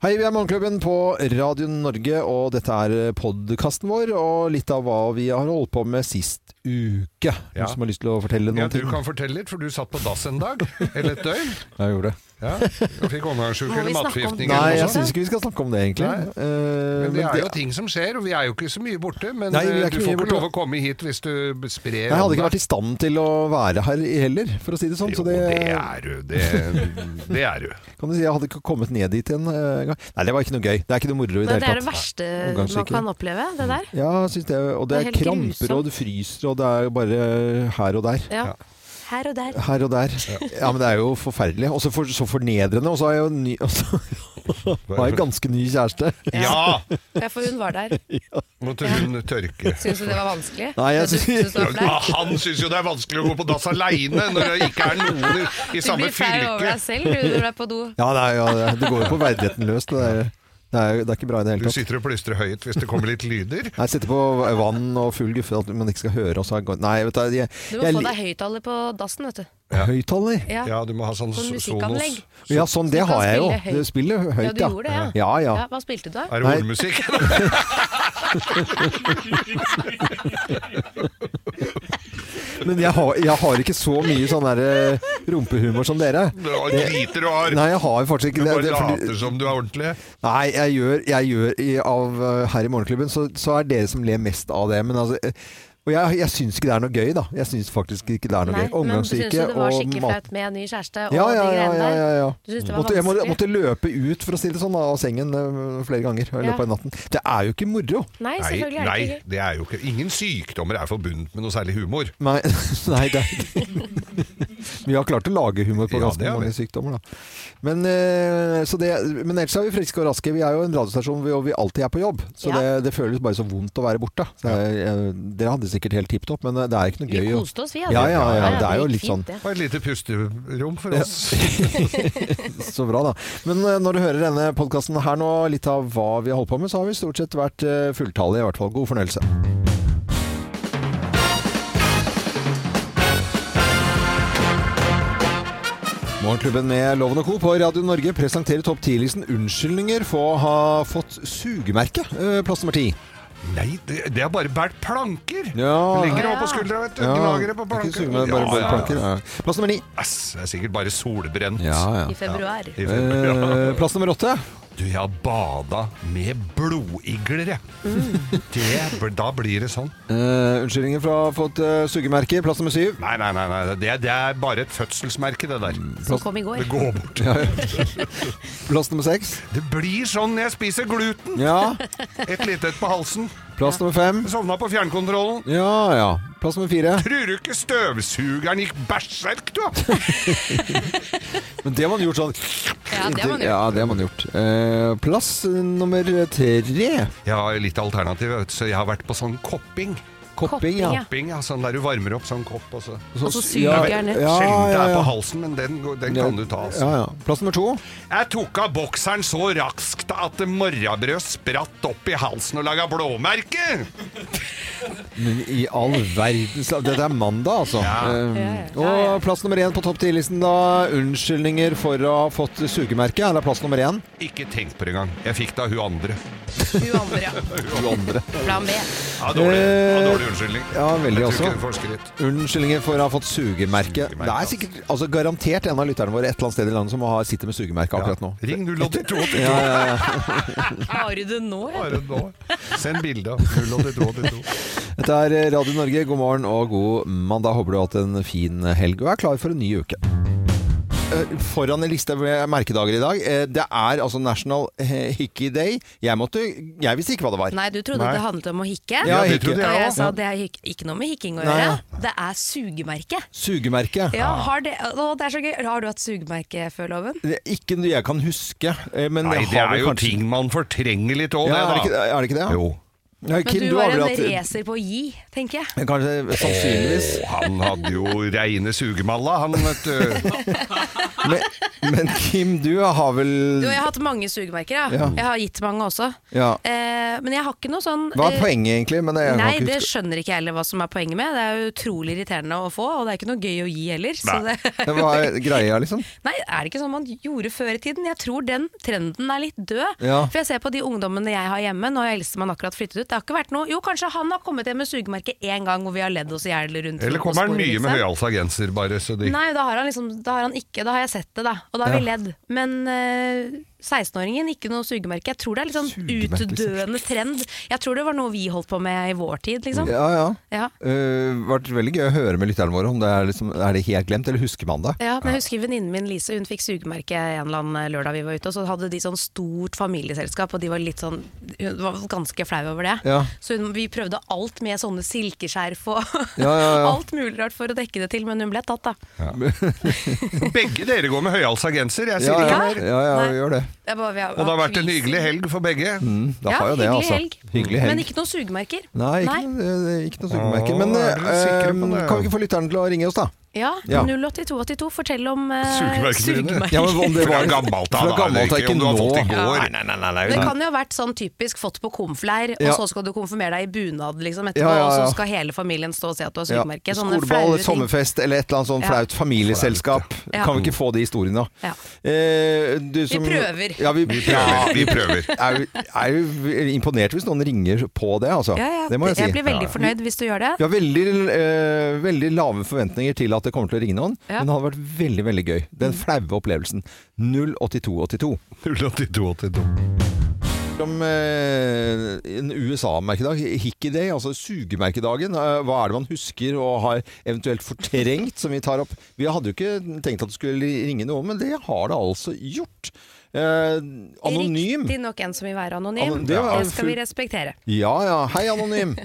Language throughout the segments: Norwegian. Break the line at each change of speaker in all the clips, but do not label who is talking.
Hei, vi er Morgenklubben på Radio Norge, og dette er podkasten vår. Og litt av hva vi har holdt på med sist uke. Noen
Ja.
som har lyst til å fortelle noen
Ja, du
ting?
kan fortelle litt, for du satt på dass en dag, eller et døgn.
Ja, Jeg gjorde det.
Ja, og fikk omgangssjuke
Må vi
eller
snakke om
matforgiftning
det?
Nei,
eller
jeg
noe sånt.
syns ikke vi skal snakke om det, egentlig.
Nei.
Eh,
Men det er jo
det-
ting som skjer, og vi er jo ikke så mye borte. Men
Nei, vi er ikke
eh, du
mye
får ikke
borte.
lov å komme hit hvis du sprer
jeg hadde ikke
ånda.
vært i stand til å være her i heller, for å si det sånn.
Jo,
så det,
det er du. Det, det er du.
kan du si jeg hadde ikke kommet ned dit en eh, gang. Nei, det var ikke noe gøy. Det er ikke noe moro
Men
i det
det er
hele
det
tatt.
verste
Omgangssyke.
man kan oppleve, det der.
Ja, jeg synes det, og det
Det er
er
helt
kramper, og det fryser, og det er jo bare her og der.
Ja.
Ja.
Her og der.
Her og der. Ja, men det er jo forferdelig. Og så for, så fornedrende. Og så har jeg jo en ny, og så har jeg en ganske ny kjæreste.
Ja!
Ja, for hun var der.
Måtte hun tørke.
Syns du det var vanskelig?
Nei, jeg
Du-
synes-
du står
Ja,
flau?
han syns jo det er vanskelig å gå på dass aleine når det ikke er noen i- i
Du
samme
blir flau over
fylke.
deg selv du, når du er på do.
Ja, det, er, ja, det- det går jo på verdigheten løs. Det er, det er, det er ikke bra i det
Du
hele tatt.
sitter og plystrer høyt hvis det kommer litt lyder.
Nei, sitte på vann og full guffe at man ikke skal høre og så er det godt. Nei, vet du, jeg,
Du må
jeg,
få deg høyttaler på dassen, vet du.
Ja.
Høyttaler?
Ja.
Ja, du må ha sånn
Sånn
so-
musikkanlegg.
Sonos.
Ja, sånn, det
du kan
har jeg jo.
spille høyt.
Du spiller
Ja,
høyt,
du gjorde det,
Ja, ja.
Ja, hva spilte du da?
Er det
Nei.
hornmusikk?
Men jeg har, jeg har ikke så mye sånn der eh, rumpehumor som dere.
Du har driter og har
Nei, jeg har faktisk
Du
ikke det.
bare
det fordi-
later som du er ordentlig.
Nei, jeg gjør, jeg gjør i, av, eh, her i Morgenklubben, så, så er dere som ler mest av det. Men altså, eh, og jeg, jeg syns ikke det er noe gøy, da. Jeg syns faktisk ikke det er noe
Nei, men
gøy.
syns du
Omgangssyke
det var
og
skikkelig
mat...
flaut med ny kjæreste og
Ja, ja,
de
ja.
greiene
ja,
der?
ja, ja.
Du synes det var
Måtte, jeg må,
vanskelig?
måtte løpe ut for å si det sånn, av sengen eh, flere ganger i
Ja.
løpet av natten. Det er jo ikke moro.
Nei,
Nei,
selvfølgelig er det
nei,
ikke gøy.
det er jo ikke Ingen sykdommer er forbundet med noe særlig humor.
Nei, nei det er ikke Vi har klart å lage humor på
Ja,
ganske
det har vi.
mange sykdommer, da. Men, eh, så det, men ellers er vi friske og raske. Vi er jo en radiostasjon hvor vi alltid er på jobb. Så
Ja.
det, det føles bare så vondt å være borte. Så jeg, jeg, dere hadde det sikkert helt tipp topp, men det er ikke noe
Vi
gøy. å-
koste oss, vi. altså.
Ja, ja, ja, det er jo
gikk
litt
fint,
sånn.
det.
Og et lite pusterom for oss.
Så bra, da. Men eh, når du hører denne podkasten her nå, litt av hva vi har holdt på med, så har vi stort sett vært eh, fulltallige. I hvert fall god fornøyelse. Morgenklubben med Loven og Co. på Radio Norge presenterer topp 10-listen unnskyldninger for å ha fått sugemerke. Eh, Plass nummer ti.
Nei, det, det er bare bært planker!
Ja.
Legger det opp på skuldra, vet du. Gnager det på
Ikke
planker.
suge, men bare, bare
Ja, ja, ja.
planker. Ja. Plass nummer ni.
Ass, det er sikkert bare solbrent.
I februar.
I februar.
Eh, plass nummer åtte.
Du, jeg har bada med blodigler, jeg.
Mm.
Det bl- Da blir det sånn.
Eh, unnskyldninger for å ha fått eh, sugemerke. Plass nummer syv.
Nei, nei, nei. nei. Det, det er bare et fødselsmerke, det der.
Mm.
Som kom i går.
Det går bort.
Plass nummer seks.
Det blir sånn når jeg spiser gluten.
Ja.
Et lite et på halsen.
Plass nummer fem.
Sovna på fjernkontrollen.
Ja ja. Plass nummer fire.
Tror du ikke støvsugeren gikk berserk, du?
Men det har man gjort sånn.
Ja, det har man gjort.
Ja, det har man gjort. Eh, plass nummer tre.
Jeg har litt alternativ, vet du, så jeg har vært på sånn kopping.
Kopping,
Kopping, ja.
ja. Altså
Kopping, ja, sånn der du varmer opp sånn kopp. Og så.
Og så
ja,
suger jeg ned.
ja,
Sjelden det
ja,
er på
ja.
halsen, men den, går- den kan du ta. Altså.
Ja, ja. Plass nummer to.
Jeg tok av bokseren så raskt at morrabrød spratt opp i halsen og laga blåmerke!
Men i all verdens land Dette er mandag, altså.
Ja.
Eh,
Ja, ja. Ja, ja.
Og plass nummer én på topp ti-listen, da. Unnskyldninger for å ha fått sugemerke. Her er plass nummer én.
Ikke tenk på det engang. Jeg fikk det av hun andre.
Hun andre, ja. Plan B.
Ja, dårlig, ja, dårlig unnskyldning.
Eh, Ja, veldig
Jeg tror
også.
ikke hun forsker litt.
Unnskyldninger for å ha fått sugemerke.
Sugemerke,
Det er sikkert altså, garantert en av lytterne våre et eller annet sted i landet som har, sitter med sugemerke akkurat nå.
Ring 08282.
Ja, ja, ja.
Har du det nå? ja?
Bare nå. Send bilde av 08282.
Dette er eh, Radio Norge. God morgen og god mandag. Håper du har hatt en fin helg og er klar for en ny uke. Eh, Foran en liste med merkedager i dag. eh, Det er altså National eh, Hickey Day. Jeg, måtte, jeg visste ikke hva det var.
Nei, du trodde
Nei.
det handlet om å hikke.
Ja,
det
ikke.
trodde
Og
jeg
jeg
òg.
sa det er hik- ikke noe med hikking å
Nei, Ah.
gjøre.
ja.
Det er sugemerke.
Sugemerke.
Ja, har det, å, det er så gøy. Har du hatt sugemerke før loven?
Det er Ikke noe jeg kan huske, eh, men
Nei,
jeg
det
har
er
vel
jo
kanskje
ting man fortrenger litt òg,
ja, er, det
det,
ikke,
da.
er det ikke det? ja?
Jo.
Ja,
Men
Kim,
du
du
var en
avbrøt-
racer på å gi, tenker jeg.
Kanskje sannsynligvis.
Å, han hadde jo reine sugemalla, han, vet du.
Men, men Kim, du har vel
Du, jeg har hatt mange sugemerker, ja.
Ja.
Jeg har gitt mange også.
ja.
Eh, men jeg har ikke noe sånn
Hva er
eh,
poenget, egentlig? Men jeg kan
Nei,
ikke
det
huske-
skjønner ikke jeg heller hva som er poenget med. Det er jo utrolig irriterende å få, og det er ikke noe gøy å gi heller. Så
Nei.
det,
Ja, Hva er greia, liksom?
nei, er det ikke sånn man gjorde før i tiden? Jeg tror den trenden er litt død.
Ja.
For jeg ser på de ungdommene jeg har hjemme, nå har eldstemann akkurat flyttet ut. Det har ikke vært noe Jo, kanskje han har kommet hjem med sugemerke én gang hvor vi har ledd oss i hjel rundt.
Eller kommer han mye med
frokostbordet,
høyhalsa genser, bare så de
liksom. Nei, da har, han liksom, da har han ikke Da har jeg sett det, da. Og da har vi ledd. Men eh, 16-åringen, ikke noe sugemerke. Jeg tror det er litt sånn
Sugemerke, liksom.
utdøende trend. Jeg tror det var noe vi holdt på med i vår tid, liksom.
Ja, ja.
Ja.
Uh, vært veldig gøy å høre med lytterne våre om det er, liksom, er det helt glemt, eller husker man det?
Ja, men jeg husker venninnen min Lise, hun fikk sugemerke en eller annen eh, lørdag vi var ute, og så hadde de sånn stort familieselskap, og de var litt sånn, hun var ganske flau over det.
Ja.
Så hun, vi prøvde alt med sånne silkeskjerf og
Ja, ja, ja.
alt mulig rart for å dekke det til, men hun ble tatt da.
Begge dere går med høyhalsa genser, jeg sier
ja,
ikke
ja,
mer.
ja, ja
Nei.
gjør det.
Det er bare- vi
Og det har vært en hyggelig helg for begge.
Da
Ja,
har jo det,
hyggelig
altså.
helg.
Hyggelig helg.
Men ikke noen sugemerker.
Nei, ikke, Noe, eh, ikke noe sugemerke.
Å,
Men
er dere
eh,
sikre på det?
kan vi ikke få lytterne til å ringe oss, da?
Ja,
Ja.
08282, fortell om eh,
Sugemerkene dine.
sugemerker.
Ja, men om det
Fra
var
gammelt av,
fra
da,
gammelt av,
eller ikke,
ikke
om du har fått det i
nå.
går.
Nei, nei, nei, nei, nei,
Det
nei.
kan jo ha vært sånn typisk fått på komfleir,
Ja.
og så skal du konfirmere deg i bunad liksom, etterpå,
Ja, ja, ja.
og så skal hele familien stå og se at du har
Ja.
sugemerke. Sånne
Skoleball,
flaue ting.
sommerfest eller et eller annet sånn
Ja.
flaut familieselskap.
Ja.
Kan vi ikke få de historiene, da?
Ja.
Eh, du som-
prøver.
Ja, vi,
Vi prøver. Vi prøver.
er, jo- er jo imponert hvis noen ringer på det, altså.
Ja, ja.
Det må jeg si.
blir veldig fornøyd hvis du gjør det.
Vi har veldig, eh, veldig lave forventninger til at det kommer til å ringe noen,
Ja. Mm.
men det hadde vært veldig veldig gøy. Den flaue opplevelsen. 08282.
08282.
Om eh, en USA-merkedag, Hickiday, altså sugemerkedagen. eh, hva er det man husker og har eventuelt fortrengt, som vi tar opp? Vi hadde jo ikke tenkt at det skulle ringe noen, men det har det altså gjort. Eh, anonym.
Riktignok en som vil være anonym.
Anon- det
det,
var jo
skal vi
full-
respektere.
Ja ja. Hei, anonym.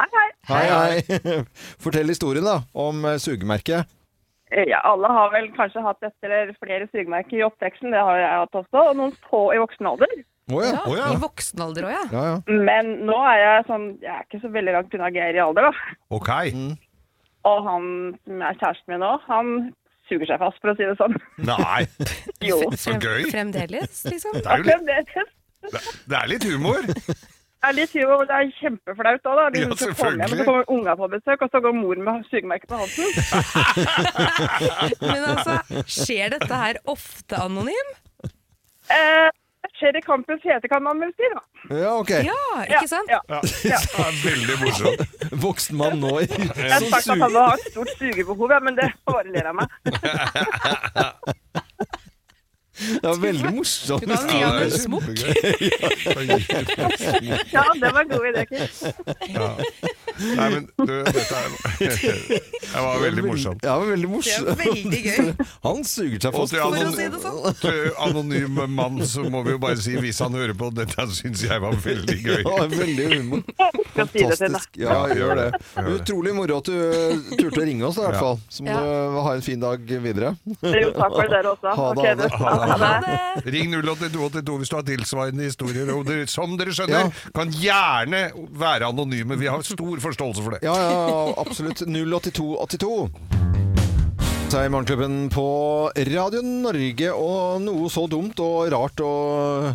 Hei, hei.
Hei, hei. Fortell historien, da, om eh, sugemerket.
Eh, Ja, alle har vel kanskje hatt ett eller flere sugemerker i oppveksten, det har jeg hatt også, og noen få i voksen alder.
Å
Ja,
ja.
Å, ja.
I voksen alder òg, ja.
Ja, ja.
Men nå er jeg sånn, jeg er ikke så veldig langt unna Geir i alder, da.
Ok.
Mm.
Og han som er kjæresten min nå, han suger seg fast, for å si det sånn.
Nei,
Jo.
så gøy.
Fremdeles, liksom.
Det er, jo litt,
Fremdeles.
det er litt humor.
Det er litt hyggelig, og det er kjempeflaut òg, da. De skal komme hjem,
Ja,
og
selvfølgelig.
så kommer unga på besøk, og så går mor med sugemerke på halsen.
Men altså, skjer dette her ofte anonym?
Eh, det skjer i campus hete, kan man vel si, da.
ja ok.
Ja, ikke sant?
Ja.
Ja, det er veldig morsomt.
Voksen mann nå i
Jeg har sagt at han har et stort sugebehov, ja, men det bare ler jeg meg.
Det var veldig morsomt.
Du kan gi ham en smokk.
smokk.
Ja, det var en god idé, Kim.
Nei, men du, dette er Det var veldig morsomt.
Ja, det var veldig
Det
morsomt.
er veldig gøy.
Han suger seg
Og
fast.
til
for å
anonym-
si det. sånn.
anonym, til anonym mann så må vi jo bare si, hvis han hører på, dette syns jeg var veldig gøy.
Ja, veldig humor.
Skal si det til deg.
Fantastisk. Ja,
Ja,
gjør det.
gjør det.
Utrolig moro at du turte å ringe oss, da, i hvert
Ja.
fall. Så må
Ja.
du ha en fin dag videre.
Jo, takk for dere også.
Ha det,
Ok,
ha det.
du. Ha det.
Ring 08282 hvis du har tilsvarende historier. Og dere, som dere skjønner,
Ja.
kan gjerne være anonyme. Vi har stor forståelse for det.
Ja, ja, absolutt. 08282. Så er Morgenklubben på Radio Norge, og noe så dumt og rart og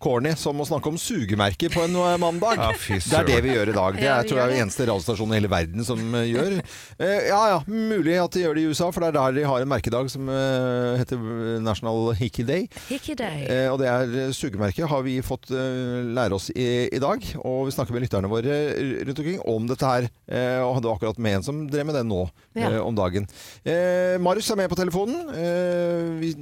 corny som å snakke om sugemerker på en eh, mandag.
Ja, fy
det er det vi gjør i dag. Det
Ja,
er,
vi
tror jeg
gjør
er
det.
den eneste radiostasjonen i hele verden som eh, gjør. Eh, Ja ja, mulig at de gjør det i USA, for det er der de har en merkedag som eh, heter National Hickey Day.
Hikkiday.
Eh, og det er eh, sugemerket har vi fått eh, lære oss i, i dag. Og vi snakker med lytterne våre r- rundt omkring om dette her. Eh, og hadde akkurat med en som drev med det nå
Ja.
eh, om dagen. Eh, Marius er med på telefonen. Eh, vi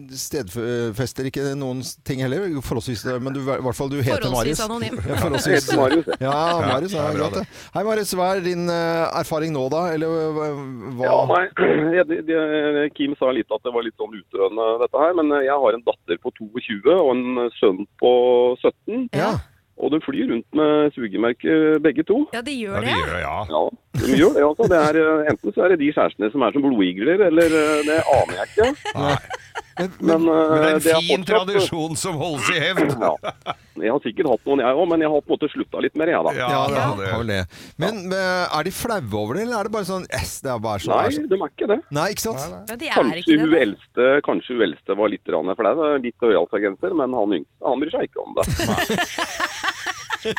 stedfester ikke noen ting heller. Forholdsvis, eh, men du, i hvert fall du heter Marius.
Forholdsvis anonym.
Ja, forholdsvis.
Marius,
Ja, Marius
ja,
er
bra
greit det.
det.
Hei Marius, hva er din eh, erfaring nå da? Eller eh, hva?
Ja, nei, jeg- det- det- Kim sa litt at det var litt sånn utdøende dette her, men eh, jeg har en datter på 22 og en eh, sønn på 17,
Ja.
og de flyr rundt med sugemerker begge to.
Ja, de
Ja,
gjør
det
det.
gjør jeg, ja.
Ja, de gjør det altså. Det er, eh, enten så er det de kjærestene som er som blodigler, eller eh, det aner jeg ikke.
Nei.
Men,
Men det
eh,
er en
det er
fin
fortsatt-
tradisjon som holdes i hevd.
Ja. Jeg har sikkert hatt noen, jeg òg, men jeg har på en måte slutta litt mer, jeg, da.
Ja,
Ja, det
ja,
har vel det. Men eh, er de flaue over det, eller er det bare sånn yes, det er bare sånn,
Nei,
er sånn.
de er ikke det.
Nei, ikke sant?
Ja, de er
Kanskje
ikke
hun
det. da.
eldste, kanskje hun eldste var litt rann flau. Litt høyhalsagenter, men han yngste han bryr seg ikke om det.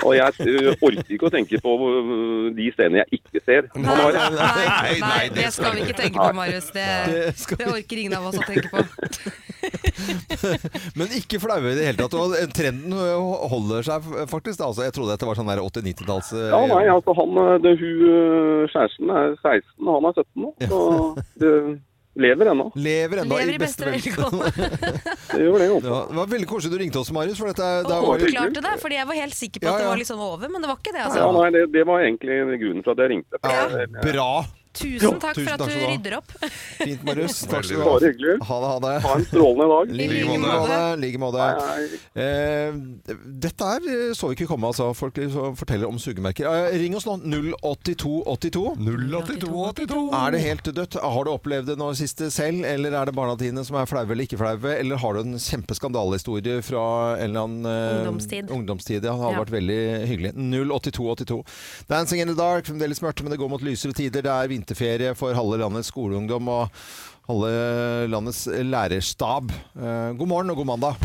Og jeg ø, orker ikke å tenke på ø, de stedene jeg ikke ser. Han
Nei,
har,
nei,
Nei,
nei,
nei,
det skal vi ikke tenke på, Marius. Det,
Det skal
det orker ingen av oss å tenke på.
Men ikke flaue i det hele tatt. Og eh, trenden eh, holder seg faktisk. Da. Altså, jeg trodde at det var sånn der 80-90-talls eh,
ja, nei, altså han, ø, det, hun, ø, Kjæresten er 16, og han er 17 nå. Så det lever ennå.
Lever ennå
Lever
i beste velgående.
Det gjør det altså. jo.
Ja, det var veldig koselig du ringte oss, Marius. For dette, det
Og
var jo
overklarte det, fordi jeg var helt sikker på
Ja,
at det
ja.
var liksom over, men det var ikke det.
Ja,
altså.
nei, det, det var egentlig grunnen til at jeg ringte.
ja, bra.
Tusen takk
Tusen
for at du
takk skal du ha.
rydder opp.
Fint, Marius. Takk skal du
Bare
ha.
hyggelig.
Ha det, ha det.
Ha en strålende dag.
I
like
like
måte.
måte. Like måte.
Hei, hei.
Eh, dette her eh, så vi ikke komme, altså. Folk så forteller om sugemerker. Eh, ring oss nå. 08282.
08282.
Er det helt dødt? Har du opplevd det nå siste selv, eller er det barna dine som er flaue eller ikke flaue? Eller har du en kjempeskandalehistorie fra en eller annen eh,
Ungdomstid.
ungdomstid? Ja, det hadde
Ja.
vært veldig hyggelig. 08282. Dancing in the dark, fremdeles mørkt, men det går mot lysere tider. Det er vinterferie for halve landets skoleungdom og halve landets lærerstab. Eh, God morgen og god mandag.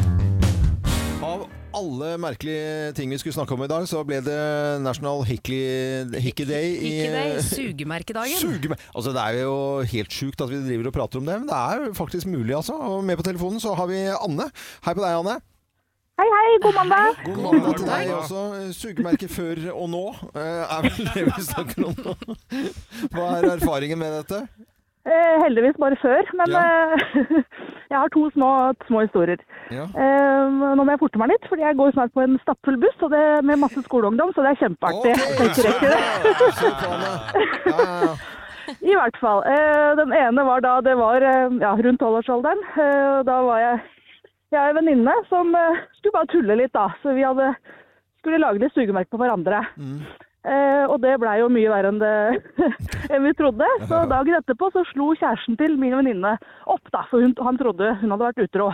Av alle merkelige ting vi skulle snakke om i dag, så ble det National Hickey, Hickey Day i
Ikke det, sugemerkedagen.
Suge meg. Altså, det er jo helt sjukt at vi driver og prater om det, men det er jo faktisk mulig, altså. Og med på telefonen så har vi Anne. Hei på deg, Anne.
Hei, hei, god mandag!
God
mandag
til deg også. altså, eh, Sugemerke før og nå eh, er vel det vi snakker om nå. Hva er erfaringen med dette?
Eh, heldigvis bare før, men
Ja.
eh, jeg har to små, små historier.
Ja.
Eh, nå må jeg forte meg litt, fordi jeg går snart på en stappfull buss og det, med masse skoleungdom, så det er kjempeartig. Jeg tenker jeg ikke det.
Så bra, Anne. Ja, ja, ja.
I hvert fall. Eh, den ene var da det var eh, ja, rundt tolvårsalderen. Eh, og da var jeg jeg og en venninne som eh, skulle bare tulle litt, da. Så vi hadde, skulle lage litt sugemerker på hverandre. Eh, og det blei jo mye verre enn, det, enn vi trodde. Så dagen etterpå så slo kjæresten til min venninne opp, da. For hun, han trodde hun hadde vært utro.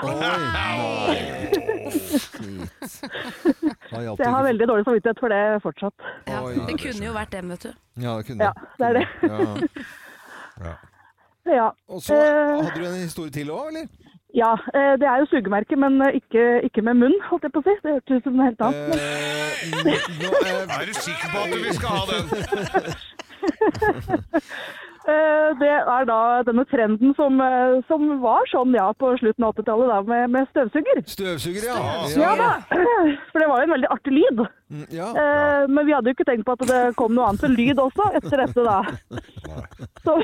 Da hjalp
Så jeg har
det ikke.
veldig dårlig samvittighet for det fortsatt.
Ja,
Oi,
det kunne jo vært dem, vet du.
Ja, det kunne
Ja, det er det.
Ja.
Ja.
Og så
Eh.
hadde du en historie til òg, eller?
ja eh, det er jo sugemerke, men eh, ikke, ikke med munn, holdt jeg på å si. Det hørtes ut som noe helt annet.
Eh, nå, eh,
Er du sikker på at du vil skal ha den?
Eh, Det er da denne trenden som, eh, som var sånn, ja, på slutten av 80-tallet da, med, med støvsuger.
Støvsuger, ja.
Ja da, for det var jo en veldig artig lyd.
Mm, ja.
Eh, Men vi hadde jo ikke tenkt på at det kom noe annet enn lyd også etter dette da. Så,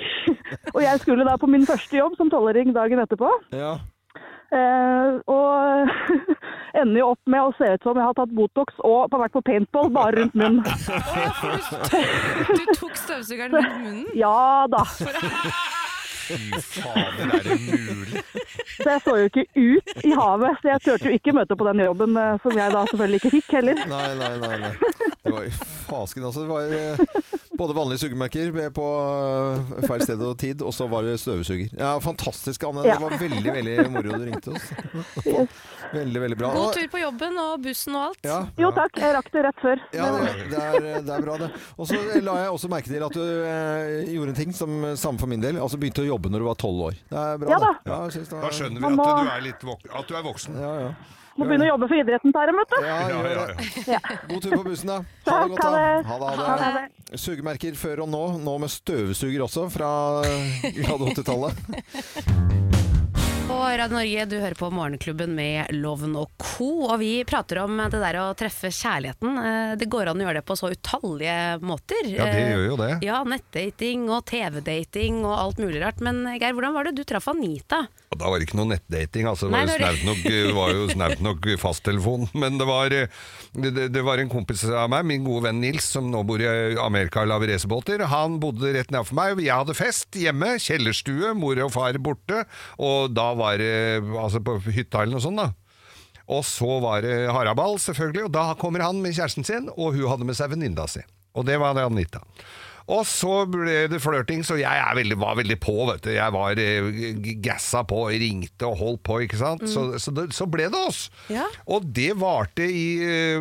og jeg skulle da på min første jobb som tolvåring dagen etterpå.
ja.
eh, Og ender jo opp med å se ut som jeg har tatt Botox og vært på paintball bare rundt munnen.
Du tok støvsugeren rundt munnen.
Ja da.
Fy fader, er det mulig?
Så jeg så jo ikke ut i havet, så jeg turte jo ikke møte på den jobben eh, som jeg da selvfølgelig ikke fikk heller.
Nei, nei, nei. nei. Det var fasken, altså. Det var eh, både vanlige sugemerker med på eh, feil sted og tid, og så var det støvsuger. Ja, Fantastisk, Anne.
Ja.
Det var veldig veldig moro du ringte oss. Veldig, veldig bra.
God tur på jobben og bussen og alt.
Ja.
Jo takk, jeg rakk det rett før.
Ja, det er, det er bra det. Og så la jeg også merke til at du eh, gjorde en ting som samme for min del. Altså begynte å jobbe når du var tolv år. Det er bra.
Ja da.
Ja, jeg synes det
Da
var-
skjønner vi at du er, litt vok at du er voksen.
Ja, ja.
Må begynne å jobbe for idretten, Terje, vet du.
Ja,
Ja,
gjør
ja,
det.
ja.
God tur på bussen, da. Ha det
Takk,
godt, da.
ha det.
Ha det, ha det. Sugemerker før og nå, nå med støvsuger også, fra glade 80-tallet.
På Radio Norge, du hører på Morgenklubben med Loven og co. Og vi prater om det der å treffe kjærligheten. Eh, Det går an å gjøre det på så utallige måter. Eh,
Ja, det gjør jo det.
Ja, nettdating og TV-dating og alt mulig rart. Men Geir, hvordan var det du traff Anita?
Og da var det ikke noe nettdating, altså. Det
Nei,
var jo
det var-
snaut nok, det var jo snaut nok fasttelefon. Men det var, eh, det, det var en kompis av meg, min gode venn Nils, som nå bor i eh, Amerika og lager racerbåter. Han bodde rett nedfor meg. Jeg hadde fest hjemme, kjellerstue, mor og far borte. Og da var det altså på hytta eller noe sånt, da. Og så var det haraball, selvfølgelig, og da kommer han med kjæresten sin, og hun hadde med seg venninna si. Og det var det Anita. Og så ble det flørting, så jeg er veldig, var veldig på, vet du. Jeg var eh, g- gassa på, ringte og holdt på, ikke sant. Så, så, det, så ble det oss.
Mm. Ja.
Og det varte i eh,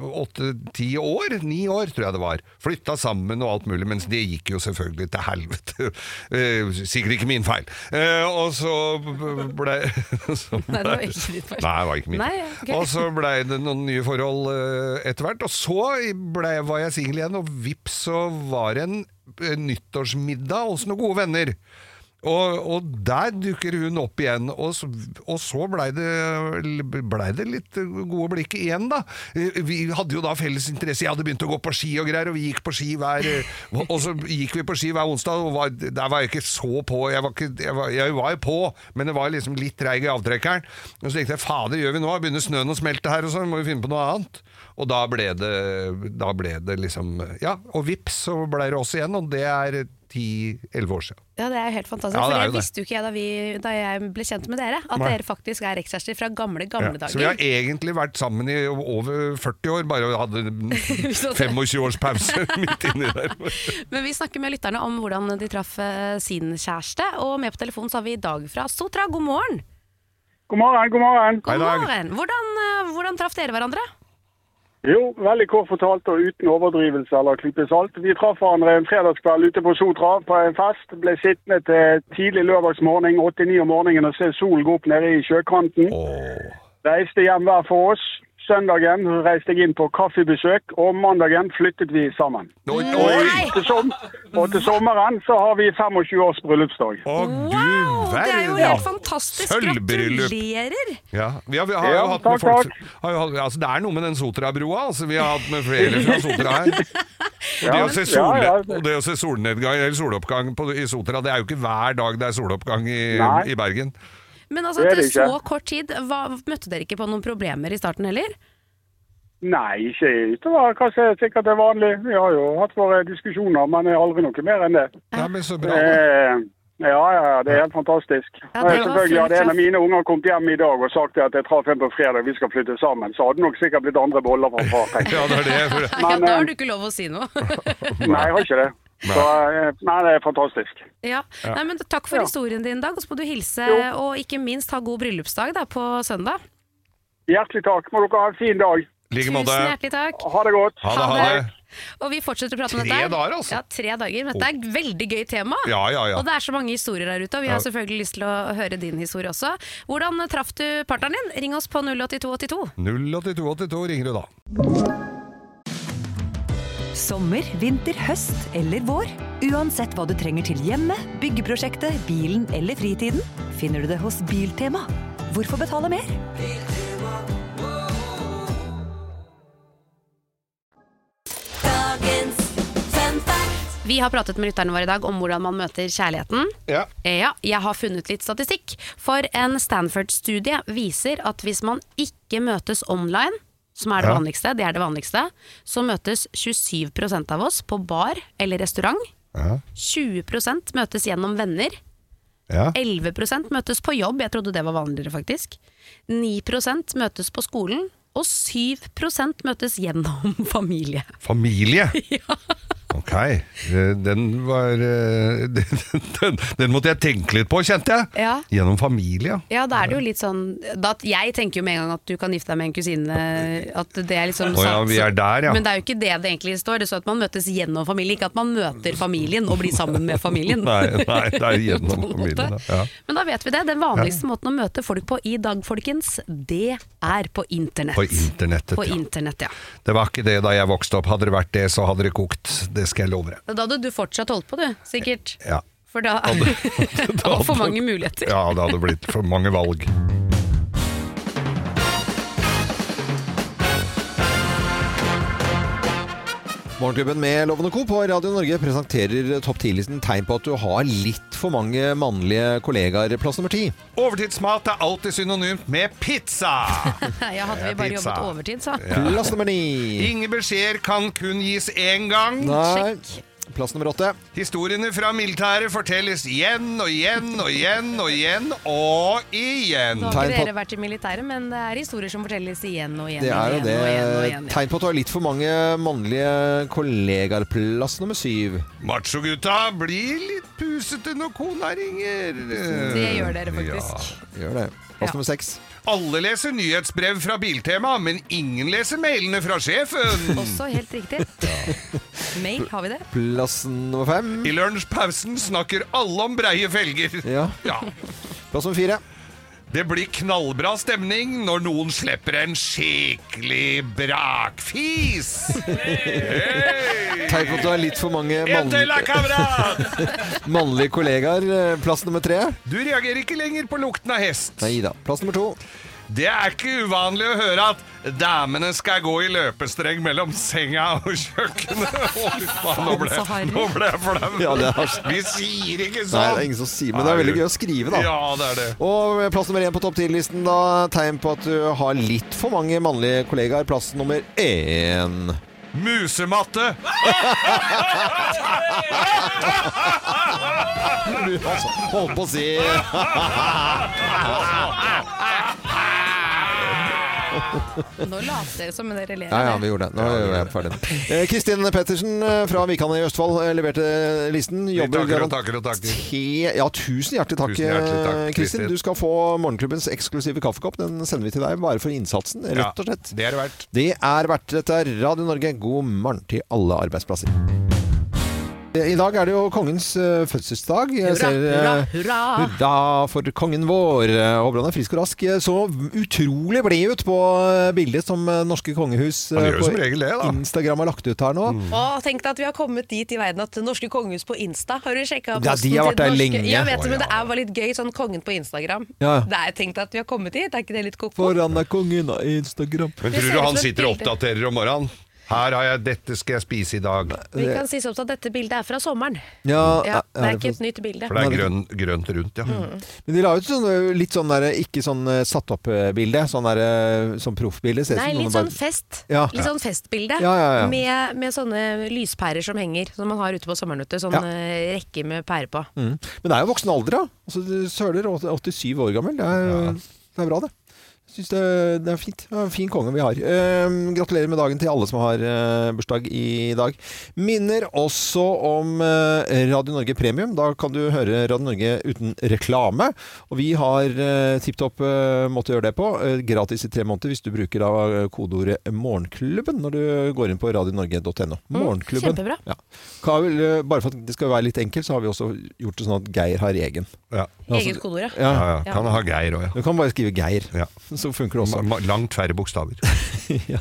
åtte-ti år, ni år tror jeg det var. Flytta sammen og alt mulig, mens det gikk jo selvfølgelig til helvete. Eh, Sikkert ikke min feil. Eh, Og så ble, så ble
Nei, det var ikke ditt feil.
Nei, det var ikke min
Nei,
feil.
ok.
Og så blei det noen nye forhold eh, etter hvert. Og så ble, var jeg singel igjen, og vips så var det en eh, nyttårsmiddag hos noen gode venner. Og, og der dukker hun opp igjen, og så, og så blei det, ble det litt gode blikk igjen, da. Eh, Vi hadde jo da felles interesse, jeg hadde begynt å gå på ski og greier, og vi gikk på ski hver eh, Og så gikk vi på ski hver onsdag, og var, der var jeg ikke så på, jeg var, ikke, jeg var, jeg var jo på, men det var liksom litt treig i avtrekkeren. Og så tenkte jeg, fader, gjør vi nå? Begynner snøen å smelte her, og så må vi finne på noe annet. Og da ble det, da ble det liksom Ja, og vips, så blei det oss igjen, og det er 10-11 år siden.
Ja, det er jo helt fantastisk.
Ja, det
for
er
det
jo det.
visste jo ikke jeg da, vi, da jeg ble kjent med dere, at
Nei.
dere faktisk er ekskjærester fra gamle,
Ja,
gamle
Så vi har
dager.
egentlig vært sammen i over 40 år, bare hadde
Hvis at-
25 års pause midt inni der.
Men vi snakker med lytterne om hvordan de traff eh, sin kjæreste, og med på telefon så har vi Dag fra Sotra. God morgen!
God morgen, god morgen.
God
Hei, Dag.
morgen. Hvordan, eh, hvordan traff dere hverandre?
Jo, veldig kort fortalt og uten overdrivelse eller klype salt. Vi traff hverandre en fredagskveld ute på Sotra på en fest. Ble sittende til tidlig lørdagsmorgen, 8-9 om morgenen, og se solen gå opp nede i sjøkanten. Reiste hjem hver for oss. Søndagen reiste jeg inn på kaffebesøk, og mandagen flyttet vi sammen.
Oi,
Nei!
oi,
Til som, og til sommeren så har vi 25 års bryllupsdag.
og
Wow,
du
det er jo
verden!
helt fantastisk!
Sølvbryllup.
Gratulerer!
Ja, vi har, vi har jo
Ja,
hatt
takk,
med folk
takk.
har jo, hatt- altså, Det er noe med den Sotra-broa. Altså, vi har hatt med flere fra Sotra her. Og det å se, solne,
ja, ja.
og det å se solnedgang eller soloppgang på, i Sotra, det er jo ikke hver dag det er soloppgang i,
Nei.
i Bergen.
Men altså,
Det er
etter
det ikke.
så kort tid, hva, møtte dere ikke på noen problemer i starten heller?
Nei, ikke utover hva som er sikkert er vanlig. Vi har jo hatt våre diskusjoner, men det er aldri noe mer enn det.
Nei, men så bra.
Eh, ja, ja, det er helt fantastisk.
Ja, det
Ja,
var
selvfølgelig hadde
flott,
en
ja.
av mine unger kommet hjem i dag og sagt at jeg traff en på fredag, vi skal flytte sammen. Så hadde det nok sikkert blitt andre boller fra far. tenkte jeg.
Ja, det er det. For,
Nei,
Men,
da har
eh,
du ikke lov å si noe.
Nei, jeg har ikke det. Så, eh, nei, det er fantastisk.
ja. Nei, men takk for
Ja.
historien din, Dag. Og så må du hilse,
Jo.
og ikke minst ha god bryllupsdag da, på søndag.
Hjertelig takk. Må dere ha en fin dag.
I like
Tusen
måte.
hjertelig takk.
Ha det godt.
Ha det, ha det.
Og vi fortsetter å prate om
Tre
dette. her.
dager, altså.
Ja, tre dager. Men dette er et veldig gøy tema.
Ja, ja, ja.
Og det er så mange historier der ute, og vi har selvfølgelig lyst til å høre din historie også. Hvordan traff du partneren din? Ring oss på 08282.
08282 ringer du da.
Sommer, vinter, høst eller vår. Uansett hva du trenger til hjemmet, byggeprosjektet, bilen eller fritiden, finner du det hos Biltema. Hvorfor betale mer?
Vi har pratet med lytterne våre i dag om hvordan man møter kjærligheten.
Ja.
Eh, Ja, jeg har funnet litt statistikk. For en Stanford-studie viser at hvis man ikke møtes online, som er det
Ja.
vanligste, det er det vanligste, så møtes 27 av oss på bar eller restaurant.
Ja.
20 møtes gjennom venner.
Ja.
11 møtes på jobb, jeg trodde det var vanligere faktisk. 9 møtes på skolen. Og 7 møtes gjennom familie.
Familie? Ok. Eh, Den var eh, den, den, den måtte jeg tenke litt på, kjente jeg.
Ja.
Gjennom familie, ja.
Ja, da er det jo litt sånn da, Jeg tenker jo med en gang at du kan gifte deg med en kusine. At det er liksom
Å ja, vi er der, ja.
Men det er jo ikke det det egentlig står. Det står at man møtes gjennom familie, ikke at man møter familien og blir sammen med familien.
Nei, nei, det
På
er gjennom
en måte.
familie. da. Ja.
Men da vet vi det. Den vanligste måten å møte folk på i dag, folkens, det er på internett.
På internettet,
På
ja.
internett, ja.
Det var ikke det da jeg vokste opp. Hadde det vært det, så hadde det kokt. Det skal jeg love deg.
Da hadde du fortsatt holdt på, du. Sikkert.
Ja.
For da Og for mange muligheter.
eh, Ja, det hadde blitt for mange valg.
Morgenklubben med Loven og Co. på Radio Norge presenterer topp 10-listen tegn på at du har litt for mange mannlige kollegaer. Plass nummer ti.
Overtidsmat er alltid synonymt med pizza!
Ja, hadde vi
Ja,
bare
pizza.
jobbet overtid, så.
Plass nummer ni.
Ingen beskjeder kan kun gis én gang.
Nei.
Sjekk.
Plass nummer åtte.
Historiene fra militæret fortelles igjen og igjen og igjen og igjen og igjen.
Nå har
Tegn
ikke
på-
dere vært i militæret, men det er historier som fortelles igjen og igjen.
Det er jo
og
det.
igjen, og igjen, og igjen, ja.
Tegn på at du har litt for mange mannlige kollegaer. Plass nummer syv.
Machogutta blir litt pusete når kona ringer.
Det gjør dere faktisk.
Gjør det. Plass
Ja.
nummer seks.
Alle leser nyhetsbrev fra Biltema, men ingen leser mailene fra sjefen.
Også helt riktig. Mail, har vi det?
Plass nummer fem.
I lunsjpausen snakker alle om breie felger.
Ja. Plass nummer fire.
Det blir knallbra stemning når noen slipper en skikkelig brakfis. Hey!
Tegn på at du har litt for mange
En til, da,
mann,
kamerat!
mannlige kollegaer. eh, Plass nummer tre.
Du reagerer ikke lenger på lukten av hest.
Nei da. Plass nummer to.
Det er ikke uvanlig å høre at damene skal gå i løpestreng mellom senga og kjøkkenet. Å, fy faen, nå ble,
Så harry.
nå ble jeg flau.
Ja, det er-
Vi sier ikke
Nei,
sånn.
det er ingen som sier, men det er veldig gøy å skrive, da.
Ja, det er det.
Og plass nummer én på topp 10-listen, da. Tegn på at du har litt for mange mannlige kollegaer. Plass nummer én.
Musematte.
Altså, holdt på å si
Nå later dere som dere ler.
Ja, ja,
av
vi
det.
gjorde det. Nå er jeg ferdig. Eh, Kristin Pettersen eh, fra Vikane i Østfold eh, leverte listen.
Vi
Jobber
takker og
garantert-
takker og takker.
Te- Ja, tusen hjertelig takk,
Tusen hjertelig takk,
eh, Kristin.
Kristin.
Du skal få morgenklubbens eksklusive kaffekopp. Den sender vi til deg bare for innsatsen, rett og slett.
Ja, det er det verdt.
Det er verdt det. Dette er Radio Norge. God morgen til alle arbeidsplasser. I dag er det jo kongens eh, fødselsdag. Jeg
Hurra, hurra,
eh,
hurra.
hurra for kongen vår. Eh, Håper han er frisk og rask. Eh, Så utrolig blid ut på eh, bildet som eh, norske kongehus eh,
Han gjør jo
på
som regel det, da. Mm.
Instagram har lagt ut her nå.
Å, tenk deg at vi har kommet dit i verden at det norske kongehus på Insta Har du sjekka
Ja, de har vært der lenge.
Ja, vet du, men det er bare litt gøy, sånn kongen på Instagram.
Ja.
Det er, tenk deg at vi har kommet dit, er ikke det litt koko?
Foran er kongen av Instagram.
Men
Det
tror
ser
du
ut
han
som et
sitter og
bilde.
oppdaterer om morgenen? Her har jeg 'dette skal jeg spise i dag'.
Vi kan si sånn at dette bildet er fra sommeren.
eh, Ja,
Ja,
er-
det
er
er ikke
det
et nytt bilde.
For det er grønn, grønt rundt, ja.
Mm.
Men de la ut sånn, eh, litt sånn der, ikke sånn eh, satt opp-bilde, sånn, der, eh, sånn proffbilde. Ser ut
Nei,
som noen
litt
bare-
sånn fest.
Ja.
Litt sånn festbilde.
Ja, ja, ja.
Med, med sånne lyspærer som henger, som man har ute på sommeren. vet du, Sånn
Ja.
eh, rekke med pærer på.
Mm. Men det er jo voksen alder, da. Altså, du Søler, åt- 87 år gammel. Det er, det er bra, det. Jeg synes det, det er fint. Det er en fin konge vi har. Ehm, gratulerer med dagen til alle som har eh, bursdag i dag. Minner også om eh, Radio Norge Premium. Da kan du høre Radio Norge uten reklame. Og vi har uh, tipp topp eh, måte å gjøre det på. eh, gratis i tre måneder hvis du bruker da eh, kodeordet 'Morgenklubben' når du går inn på radionorge.no. Morgenklubben.
kjempebra.
Ja. Hva vil, eh, bare for at det skal være litt enkelt, så har vi også gjort det sånn at Geir har egen.
Ja,
Eget kodeord, ja.
ja,
Ja.
ja. Kan ha Geir òg, ja.
Du kan bare skrive Geir,
ja. Mm.
så funker det også.
Ma- Langt færre bokstaver.
ja.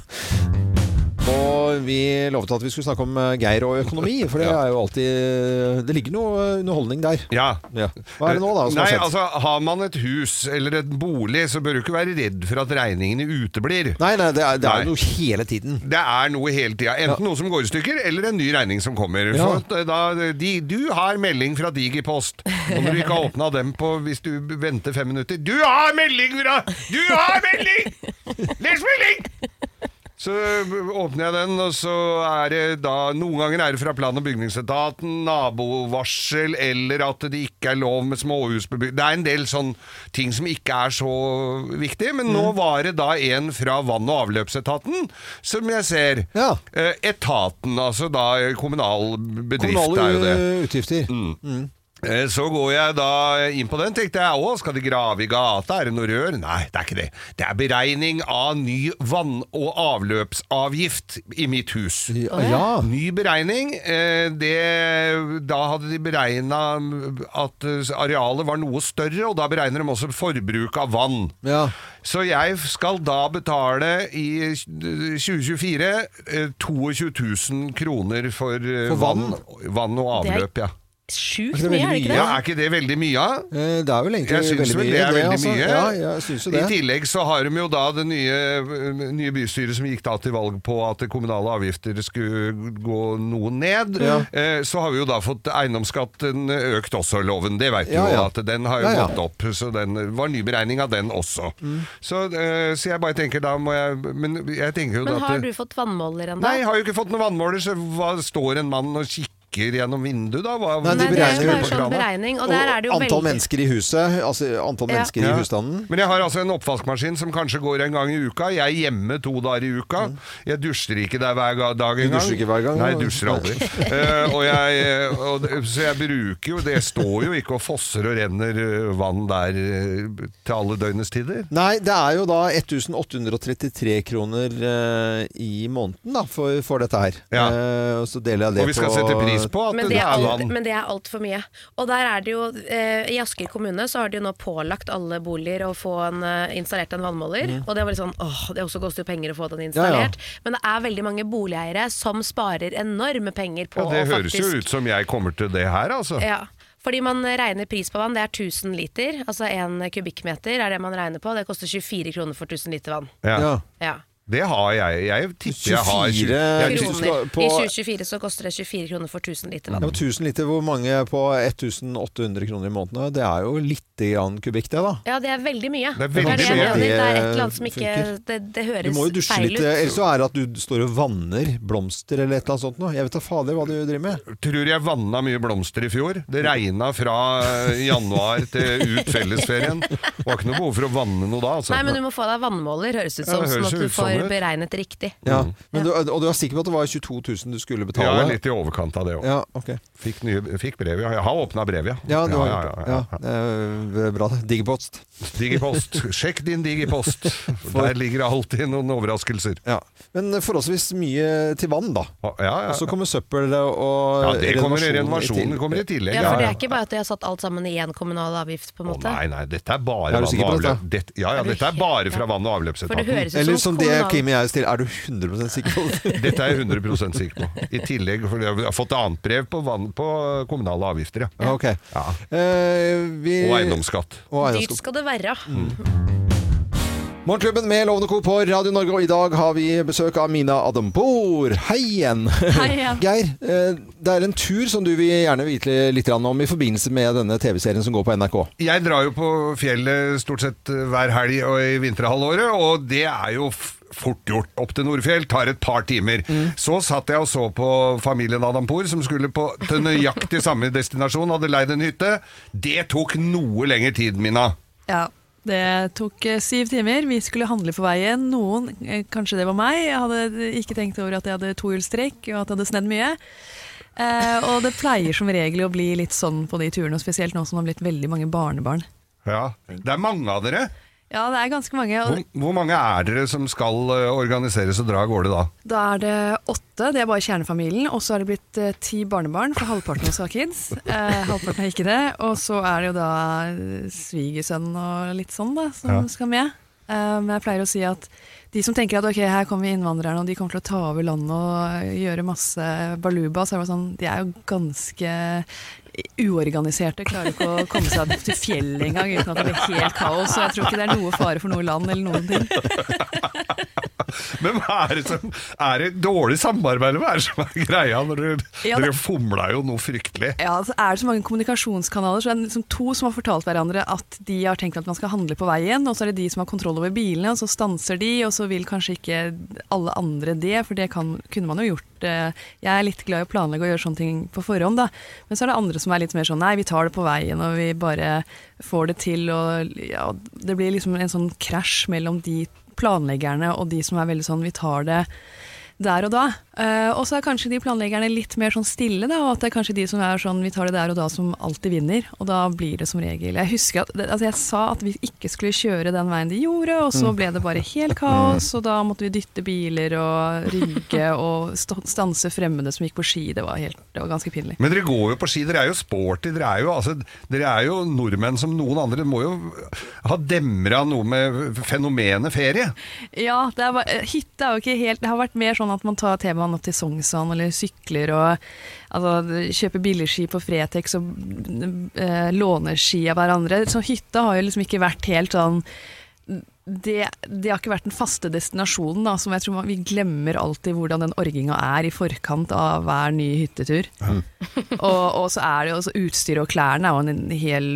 Og vi lovet at vi skulle snakke om eh, Geir og økonomi, for det
Ja.
er jo alltid Det ligger noe underholdning der.
Ja.
Ja. Hva er det nå, da? Som
Nei,
har skjedd?
altså, har man et hus eller et bolig, så bør du ikke være redd for at regningene uteblir.
nei, nei, det er, det er
Nei.
jo noe hele tiden.
Det er noe hele tida. Enten noe som går i stykker, eller en ny regning som kommer.
Ja.
Så da, de, du har melding fra Digipost. Og når du ikke har åpna dem på hvis du venter fem minutter Du har melding fra Du har melding! Les melding! Så åpner jeg den, og så er det da Noen ganger er det fra plan- og bygningsetaten, nabovarsel, eller at det ikke er lov med småhusbebyggelse Det er en del sånn ting som ikke er så viktig, men nå var det da en fra vann- og avløpsetaten som jeg ser.
Ja.
Eh, Etaten, altså da kommunal bedrift
Kommunale
er jo det. Mm.
eh, utgifter.
Eh, Så går jeg da inn på den, tenkte jeg. Å, skal de grave i gata? Er det noe rør? Nei, det er ikke det. Det er beregning av ny vann- og avløpsavgift i mitt hus.
Ja, ja.
Ny beregning. eh, Det, da hadde de beregna at eh, arealet var noe større, og da beregner de også forbruk av vann.
Ja.
Så jeg skal da betale i eh, 2024 eh, 22 000 kroner for, eh,
For vann?
vann? Vann og
Det er-
avløp, ja.
Sjukt
Er ikke
mye,
det
er det
veldig
ikke
Ja,
det?
er ikke det veldig mye av?
Eh, Det er vel egentlig
Jeg syns
veldig
vel
mye.
det er veldig
altså.
mye.
Ja, jeg syns jo det.
I tillegg så har de jo da det nye, eh, nye bystyret som gikk da til valg på at det kommunale avgifter skulle gå noe ned.
Ja.
Eh, Så har vi jo da fått eiendomsskatten økt også, loven. Det veit du
Ja,
jo
ja.
at den har jo
Ja, Mm. ja.
gått opp. Så den var nyberegning av den også. Så, eh, så jeg bare tenker da må jeg Men jeg tenker jo
Men
da
har
at
du fått vannmåler ennå?
Nei, jeg har jo ikke fått noen vannmåler, så hva står en mann og kikker? stykker gjennom vinduet, da? Hva,
Nei, de
Nei, det er
beregner
jo bare
på
sånn beregning, og der er det jo
antall
veldig
mennesker i huset, altså antall
Ja.
mennesker
Ja.
i husstanden.
Men jeg har altså en oppvaskmaskin som kanskje går en gang i uka. Jeg er hjemme to dager i uka. Jeg dusjer ikke der hver ga- dag
Mm.
engang.
dusjer ikke hver gang,
Nei,
da?
jeg dusjer aldri. Eh, og jeg, eh, og, det- så jeg bruker jo Det står jo ikke og fosser og renner eh, vann der eh, til alle døgnets tider.
Nei, det er jo da 1833 kroner eh, i måneden da, for, for dette her.
Ja.
Eh, og så deler jeg det
Og vi skal
på
sette pris på at
Men
det
det,
er
er alt,
vann.
men det er altfor mye. Og der er det jo, eh, I Asker kommune så har de jo nå pålagt alle boliger å få en, eh, installert en vannmåler. Og det var litt sånn, åh, det også koster jo penger å få den installert. Men det er veldig mange boligeiere som sparer enorme penger på
Ja, det
å
høres
faktisk
jo ut som jeg kommer til det her, altså.
Ja, fordi man regner pris på vann, det er 1000 liter. Altså en kubikkmeter er det man regner på. Det koster 24 kroner for 1000 liter vann.
Ja.
Ja.
Ja.
Det har jeg. Jeg tipper jeg har
24
jeg
du
Kroner.
tror-
skal på-
I 2024 så koster det 24 kroner for 1000 liter vann.
Ja, men 1000 liter, hvor mange på 1800 kroner i måneden? Det er jo litt grann kubikk det, da.
Ja, det er veldig mye.
Det er veldig
jeg
mye.
mener. Det er et eller annet som
Det
ikke
funker.
Det, det
Du
høres
må jo dusje
feil
litt, eh,
ut.
ellers så er det at du står og vanner blomster eller et eller annet sånt nå. Jeg vet da fader hva du driver med.
tror jeg vanna mye blomster i fjor. Det regna fra eh, januar til ut fellesferien. Det var ikke noe behov for å vanne noe da. Altså.
Nei, men du må få deg vannmåler, høres ut
Ja,
som,
det
sånn
høres
at
jo
du
ut som
får
det.
beregnet riktig.
Ja. Mm. Men du, og du var sikker på at det var 22 000 du skulle
Ja,
betale?
litt i overkant av det òg.
Ja, ok.
Fikk, nye- fikk brev, ja. Jeg har åpna brev, ja.
Ja, du har
ja,
gjort det.
ja,
Ja,
ja.
det er bra. det. Digipost.
Digipost. Sjekk din digipost. Der ligger det alltid noen overraskelser.
Ja. Men forholdsvis mye til vann, da.
Ja, ja,
Og så
ja.
kommer søppel og
ja det kommer
renovasjon i
renovasjonen
tillegg.
kommer i tillegg.
Ja, for det er ikke bare at de har satt alt sammen i én kommunal avgift, på en
Å
måte.
nei, nei, dette er bare
Er du
vann
sikker
og
på dette?
avløp. Dette, ja, ja,
Er du
dette er
helt-
bare fra
ja.
vann- og
For det
avløpsetaten.
høres
Eller
ut
som
som
det
kommunal
Kim og jeg stiller, er du 100 sikker på det?
Dette er jeg 100 sikker på. I tillegg, for jeg har fått annet brev på, vann, på kommunale avgifter, ja.
Ok.
Ja.
Eh, vi...
Og eiendomsskatt.
Og
Dyrt
eiendomsskatt.
skal det være.
Mm. Morgenklubben med Lovende Co. på Radio Norge, og i dag har vi besøk av Mina Adampour. Hei igjen!
Hei igjen.
Geir, eh, det er en tur som du vil gjerne vite litt grann om i forbindelse med denne TV-serien som går på NRK.
Jeg drar jo på fjellet stort sett eh, hver helg og i vinterhalvåret, og det er jo f- fort gjort. Opp til Nordfjell tar et par timer. Så satt jeg og så på familien Adampour, som skulle på til nøyaktig samme destinasjon, hadde leid en hytte. Det tok noe lengre tid, Mina.
Ja, det tok eh, syv timer. Vi skulle handle på veien. Noen, eh, kanskje det var meg, jeg hadde ikke tenkt over at jeg hadde tohjulstrekk og at det hadde snedd mye. Eh, og det pleier som regel å bli litt sånn på de turene, og spesielt nå som det har blitt veldig mange barnebarn.
Ja, Det er mange av dere.
Ja, det er ganske mange.
Hvor,
Og
hvor mange er dere som skal eh, organiseres og dra av gårde da?
da er det åtte, det er bare kjernefamilien. Og så er det blitt eh, ti barnebarn, for halvparten også har kids. Eh, halvparten har ikke det. Og så er det jo da eh, svigersønn og litt sånn, da, som
Ja.
skal med. Eh, men jeg pleier å si at de som tenker at ok, her kommer innvandrerne, og de kommer til å ta over landet og eh, gjøre masse baluba, så er det bare sånn, de er jo ganske uorganiserte, klarer ikke å komme seg til fjellet engang uten at det blir helt kaos. Så jeg tror ikke det er noe fare for noe land eller noen ting.
Men hva er det som Er det dårlig samarbeid, eller hva er det som er greia? Når dere,
Ja, det-
dere fomla jo noe fryktelig.
Ja, så er det så mange kommunikasjonskanaler, så det er liksom to som har fortalt hverandre at de har tenkt at man skal handle på veien, og så er det de som har kontroll over bilene, og så stanser de, og så vil kanskje ikke alle andre det, for det kan, kunne man jo gjort. eh, Jeg er litt glad i å planlegge og gjøre sånne ting på forhånd, da. Men så er det andre som er litt mer sånn nei, vi tar det på veien, og vi bare får det til, og ja, det blir liksom en sånn krasj mellom de planleggerne og de som er veldig sånn vi tar det der og da. Eh, og så er kanskje de planleggerne litt mer sånn stille, da, og at det er kanskje de som er sånn vi tar det der og da, som alltid vinner. Og da blir det som regel Jeg husker at det- altså jeg sa at vi ikke skulle kjøre den veien de gjorde, og så ble det bare helt kaos, og da måtte vi dytte biler og rygge og st stanse fremmede som gikk på ski. Det var, helt, det var ganske pinlig.
Men dere går jo på ski, dere er jo sporty, dere er jo, altså, dere er jo nordmenn som noen andre. Dere må jo ha demra noe med fenomenet ferie.
Ja, det er bare, eh, hytte er jo ikke helt Det har vært mer sånn at man tar temaen opp til Sognsvann eller sykler og altså, kjøper billigski på Fretex og eh, låner ski av hverandre. Så hytta har jo liksom ikke vært helt sånn det, det har ikke vært den faste destinasjonen, da, som jeg tror man, vi glemmer alltid hvordan den orginga er i forkant av hver ny hyttetur. og, og så er det jo også utstyret og klærne er jo en hel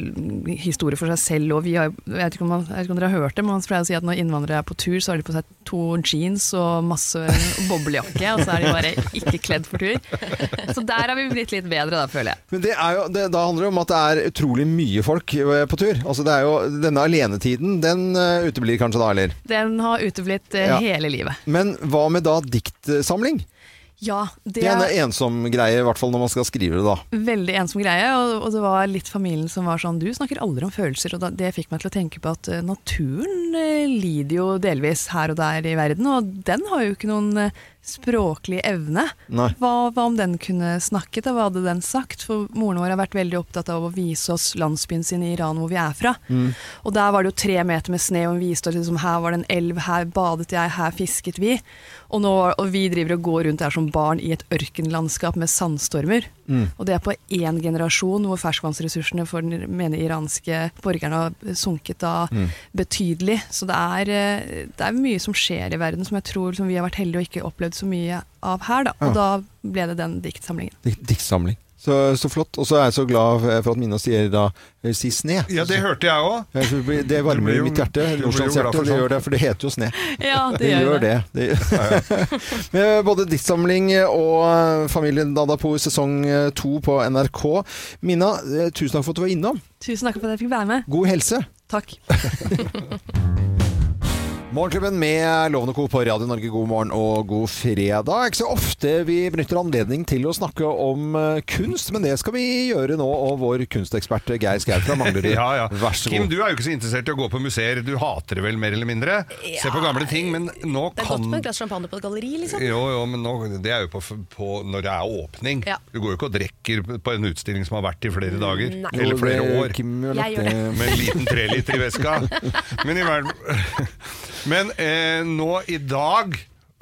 historie for seg selv. Og vi har, jo- jeg, vet ikke om man, jeg vet ikke om dere har hørt det, men man pleier å si at når innvandrere er på tur, så har de på seg to jeans og masse boblejakke, og så er de bare ikke kledd for tur. Så der har vi blitt litt bedre, da, føler jeg.
Men det er jo, det, da handler det om at det er utrolig mye folk eh, på tur. Altså det er jo, Denne alenetiden, den eh, uteblir kanskje da, eller?
Den har uteblitt eh,
Ja.
hele livet.
Men hva med da diktsamling?
Ja,
Det er en ensom greie, i hvert fall når man skal skrive det, da.
veldig ensom greie, og, og det var litt familien som var sånn Du snakker aldri om følelser, og da, det fikk meg til å tenke på at eh, naturen eh, lider jo delvis her og der i verden, og den har jo ikke noen eh, språklig evne.
Nei.
Hva, hva om den kunne snakket, og hva hadde den sagt? For moren vår har vært veldig opptatt av å vise oss landsbyen sin i Iran, hvor vi er fra. Og der var det jo tre meter med sne, og hun viste oss liksom, her var det en elv, her badet jeg, her fisket vi. Og, nå, og vi driver og går rundt der som barn i et ørkenlandskap med sandstormer.
Mm.
Og det er på én generasjon hvor ferskvannsressursene for den mener iranske borgerne har sunket da
Mm.
betydelig. Så det er, eh, det er mye som skjer i verden som jeg tror liksom, vi har vært heldige og ikke opplevd så mye av her. Da. Og da ble det den diktsamlingen.
Dik- Diktsamling. Så, så flott. Og så er jeg så glad for at Mina sier da eh, si sne.
Ja, det hørte jeg òg.
Jeg tror Det blir- det varmer
Du blir jo-
mitt hjerte.
du blir jo glad
Nordlandshjerte.
for
Det
sånt.
gjør det, for det heter jo sne.
Ja,
Det gjør det. det. Med Både diktsamling og eh, Familien Dadapoe sesong eh, to på NRK. Mina, eh, tusen takk for at du var innom.
Tusen takk for at jeg fikk være med.
God helse.
Takk.
Morgenklubben med Lovende Co. på Radio Norge, god morgen og god fredag. Ikke så ofte vi benytter anledning til å snakke om eh, kunst, men det skal vi gjøre nå. Og vår kunstekspert Geir Skau fra Manglerud,
Ja, ja.
vær så
Kim,
god.
du er jo ikke så interessert i å gå på museer. Du hater det vel mer eller mindre? Se på gamle ting, men nå
Det er godt
kan
med et glass champagne på et galleri, liksom.
jo, jo, men nå, det er jo på, på når det er åpning.
Ja.
Du går jo ikke og drikker på en utstilling som har vært i flere dager.
Nei.
Jo,
Eller
det-
flere år.
Kim, har lagt
Jeg gjør
ned-
Med en liten treliter i veska. Men, i verden. Men eh, nå i dag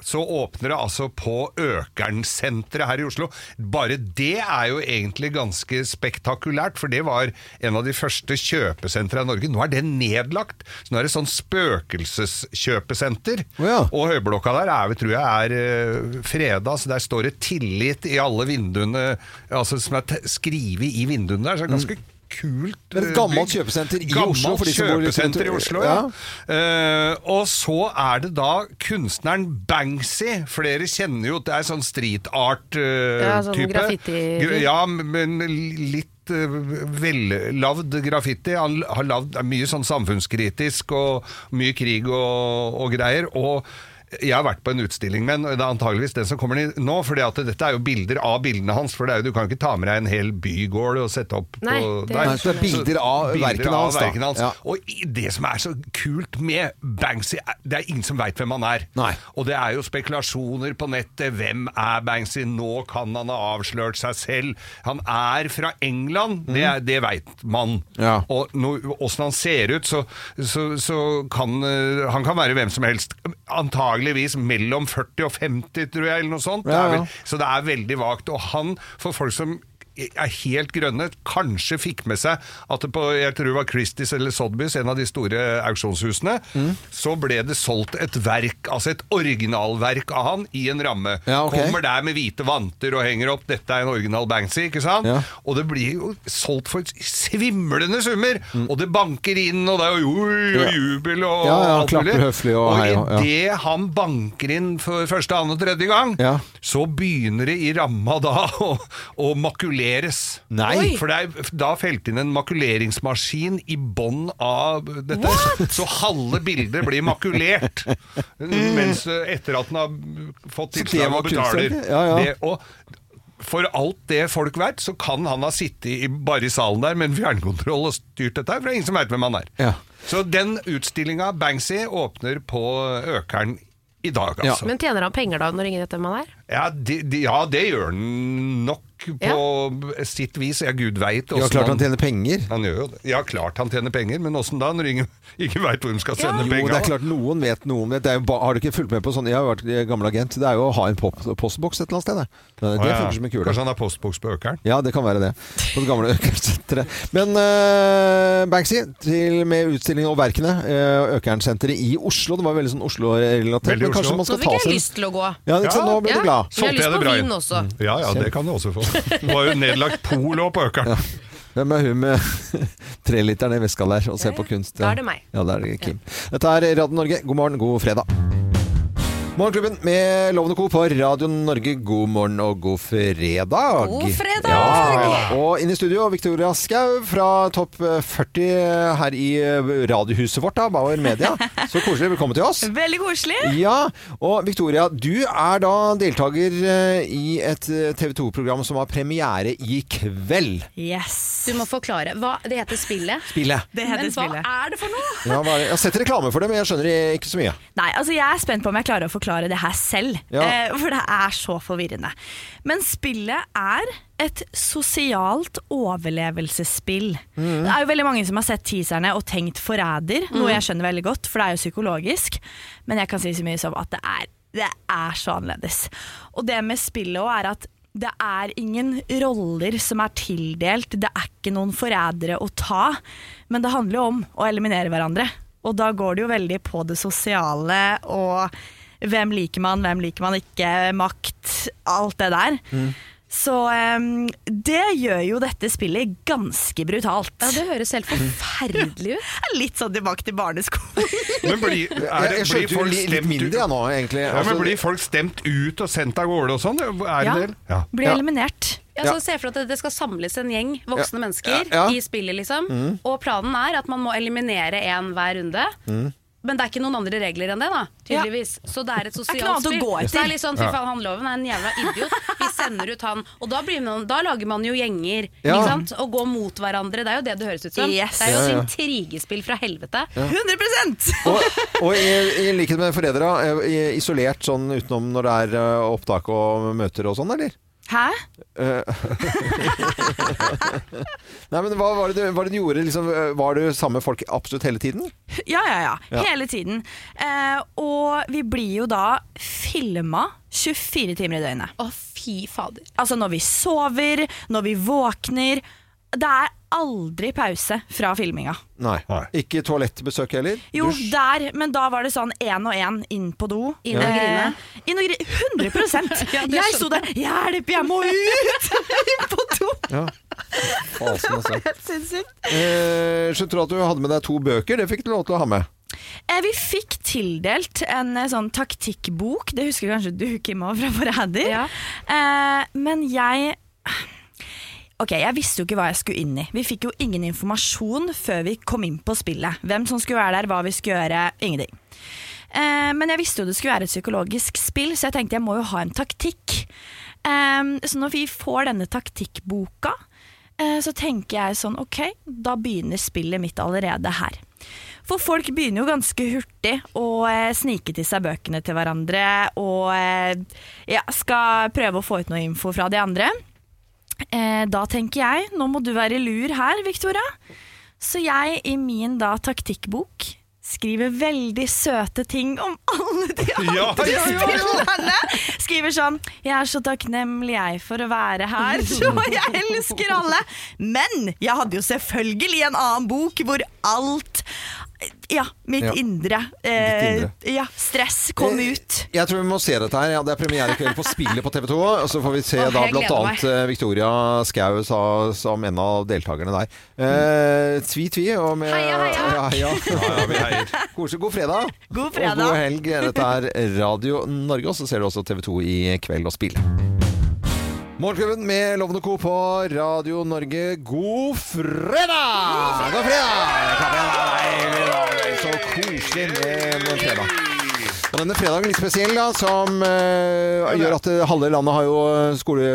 så åpner det altså på Økernsenteret her i Oslo. Bare det er jo egentlig ganske spektakulært, for det var en av de første kjøpesentra i Norge. Nå er det nedlagt, så nå er det sånn spøkelseskjøpesenter.
Å ja.
Og høyblokka der er, vel, tror jeg er eh, freda, så der står det 'tillit' i alle vinduene, altså som er te- skrevet i vinduene der, så det er
Mm.
ganske kult.
Det er et
eh,
gammelt
bygg.
kjøpesenter i
gammelt
Oslo, for de som bor i
kjøpesenter i
sentrum.
Oslo, ja. Eh, og så er det da kunstneren Banksy. Flere kjenner jo at det er sånn street art-type.
Ja, sånn graffiti-
ja, men litt eh, vellavd graffiti. Han har lagd mye sånn samfunnskritisk og mye krig og, og greier. og jeg har vært på en utstilling med en, og det er antageligvis den som kommer nå, for dette er jo bilder av bildene hans, for det er jo, du kan ikke ta med deg en hel bygård og sette opp
Nei,
på
det-
der.
Nei, så det er bilder av verkene hans, da.
verkene hans.
Ja.
Og i- det som er så kult med Banksy, er- det er ingen som veit hvem han er.
Nei.
Og det er jo spekulasjoner på nettet. Hvem er Banksy? Nå kan han ha avslørt seg selv. Han er fra England, det, er- det veit man.
Ja.
Og no, åssen han ser ut, så, så, så kan eh, han kan være hvem som helst. Antageligvis mellom 40 og 50, tror jeg, eller noe sånt.
Ja,
Det er
ja.
vel, så det er veldig vagt. Og han, for folk som er helt grønne, kanskje fikk med seg at det på, jeg tror det var Christies eller Sotheby's, en av de store auksjonshusene,
Mm.
så ble det solgt et verk, altså et originalverk av han, i en ramme.
Ja, ok.
Kommer der med hvite vanter og henger opp, dette er en original Banksy, ikke sant?
Ja.
Og det blir jo solgt for svimlende summer, og det banker inn, og det er jo oi, og
Ja.
jubel og
Mm. Ja, ja,
alt mulig.
klapper høflig og hei,
i
ja.
det Idet han banker inn for første, andre og tredje gang,
Ja.
så begynner det i ramma da å, å makuleres.
Nei. Oi.
For det er da felt inn en makuleringsmaskin i bånn av dette, så halve bildet blir makulert. mens eh, etter at den har fått
Så det
tilslag
var
og betaler.
kunstverket? Ja, ja.
Det, og for alt det folk vet, så kan han ha sittet i, bare i salen der med en fjernkontroll og styrt dette her, for det er ingen som veit hvem han er.
Ja.
Så den utstillinga Banksy åpner på Økern i dag, altså.
Men tjener han penger da, når ingen vet hvem han er?
Ja, de, de, ja, det gjør han nok på sitt vis. Ja, gud veit
Ja, klart han tjener penger.
Han gjør jo det. Ja, klart han tjener penger, men åssen da? Når ingen, ikke veit hvor de skal sende
Jo,
penger
det er klart noen vet, noen vet. Det er jo, ba- har du ikke fulgt med på sånne Jeg har vært eh, gammel agent. Det er jo å ha en pop, postboks et eller annet sted. Det, det funker som en kule.
Kanskje han har postboks på økeren?
Ja, det kan være det. På det gamle Økernsenteret. Men eh, Banksy, til med utstillingen og verkene. Uh, Økernsenteret i Oslo. Det var veldig sånn Oslo-relatert.
Veldig
Men kanskje
Oslo.
man
Nå
skal
fikk
ta
jeg
seg en
lyst til å gå.
Ja, ikke sant? Nå blir
Ja.
du glad.
Jeg har
Solgte jeg
lyst
det
på
bra inn?
vin også.
Ja ja, det kan du også få. Det var jo nedlagt polo på økeren.
Hvem er hun med treliteren i veska der og ser på kunst?
Da er det meg.
Ja, da er det Kim. Dette er Radio Norge. God morgen, god fredag. Morgenklubben med Lovende Co. på Radio Norge. God morgen og god fredag.
God fredag!
Ja. Og inne i studio, Victoria Skau fra Topp 40 her i eh, radiohuset vårt, da, Bauer Media. Så koselig. Velkommen til oss.
Veldig koselig.
Ja, og Victoria, du er da deltaker eh, i et TV 2-program som har premiere i kveld.
Yes.
Du må forklare. Hva, det heter Spillet.
Spillet.
Det
Men
heter
hva
spillet.
er det for noe?
Ja, hva er det? Jeg har sett reklame for det, men jeg skjønner ikke så mye.
Nei, altså Jeg er spent på om jeg klarer å forklare det her selv,
Ja.
eh, for det er så forvirrende. Men spillet er et sosialt overlevelsesspill. Det er jo veldig mange som har sett teaserne og tenkt 'forræder', noe jeg skjønner veldig godt, for det er jo psykologisk. Men jeg kan si så mye som at det er, det er så annerledes. Og det med spillet òg er at det er ingen roller som er tildelt, det er ikke noen forrædere å ta, men det handler jo om å eliminere hverandre. Og da går det jo veldig på det sosiale og hvem liker man, hvem liker man ikke, makt, alt det der.
Mm.
Så em, det gjør jo dette spillet ganske brutalt.
Ja, det høres helt forferdelig ut.
Det er litt sånn tilbake til barneskolen.
Men blir, er
Jeg,
det,
jeg
blir
skjønte jo
folk
li- litt
stemt
mindre
ut?
jeg nå, egentlig.
Ja, men
Altså,
blir folk stemt ut og sendt av gårde og sånn? Er det det? Ja.
Blir
Ja.
eliminert.
Ja, så Se for deg at det- det skal samles en gjeng voksne mennesker
Ja, ja.
i spillet, liksom. Og planen er at man må eliminere én hver runde. Men det er ikke noen andre regler enn det, da. Tydeligvis. Så det er et
ikke noe
sosialt
annet å
spill.
gå etter.
Det er litt sånn, Fy faen, han loven er en jævla idiot. Vi sender ut han. Og da, blir man, da lager man jo gjenger.
Ja.
Ikke sant? Og går mot hverandre. Det er jo det det høres ut som.
Yes.
Det er jo
Ja,
et
ja.
intrigespill fra helvete.
100
og, og i, i likhet med foreldra, eh, i- isolert sånn utenom når det er eh, opptak og møter og sånn, eller?
Hæ?
Nei, men hva var det du, hva var det du gjorde? Liksom, eh, var du sammen med folk absolutt hele tiden?
Ja, ja, ja.
Ja.
Hele tiden. Eh, og vi blir jo da filma 24 timer i døgnet.
Å, fy fader.
Altså når vi sover, når vi våkner. Det er aldri pause fra filminga.
Nei.
Nei.
Ikke toalettbesøk heller?
Jo,
Dusj?
der, men da var det sånn én og én inn på do.
Inn og
Eh,
grine.
Inn og grine. 100
Ja, det
Jeg sto der 'hjelp, jeg må ut!' inn på do.
Fasen, altså.
Helt sinnssykt.
Eh, skjønte du at du hadde med deg to bøker? Det fikk du lov til å ha med.
Eh, Vi fikk tildelt en eh, sånn taktikkbok, det husker kanskje du, Kim, også fra Forræder.
Ja.
Eh, men jeg Ok, Jeg visste jo ikke hva jeg skulle inn i. Vi fikk jo ingen informasjon før vi kom inn på spillet. Hvem som skulle være der, hva vi skulle gjøre, ingenting. Eh, men jeg visste jo det skulle være et psykologisk spill, så jeg tenkte jeg må jo ha en taktikk. Eh, så når vi får denne taktikkboka, eh, så tenker jeg sånn ok, da begynner spillet mitt allerede her. For folk begynner jo ganske hurtig å eh, snike til seg bøkene til hverandre og eh, ja, skal prøve å få ut noe info fra de andre. Eh, da tenker jeg, nå må du være lur her, Victoria. Så jeg i min da taktikkbok skriver veldig søte ting om alle de
Ja,
andre
ja, ja, ja.
spillerne. Skriver sånn Jeg er så takknemlig jeg for å være her, og jeg elsker alle. Men jeg hadde jo selvfølgelig en annen bok hvor alt Ja, mitt
Ja.
indre, eh,
Ditt
Ja, stress kom
Eh,
ut.
Jeg tror vi må se dette her. Ja, det er premiere i kveld på Spillet på TV 2. Og så får vi se
Åh,
da
jeg gleder
blant annet eh, Victoria Skau sa, som en av deltakerne der. Eh, tvi, tvi. Og med,
Mm. Heia, heia.
Ja, heia.
Ja, ja, vi heier.
Koselig. God fredag.
God fredag.
Og god helg. Dette er Radio Norge, og så ser du også TV 2 i kveld og spille. Morgenklubben med Lovende Co. på Radio Norge. God fredag! God fredag! God fredag! Så koselig med med fredag. Og denne fredagen er litt spesiell, da, som eh, gjør at eh, halve landet har jo skole,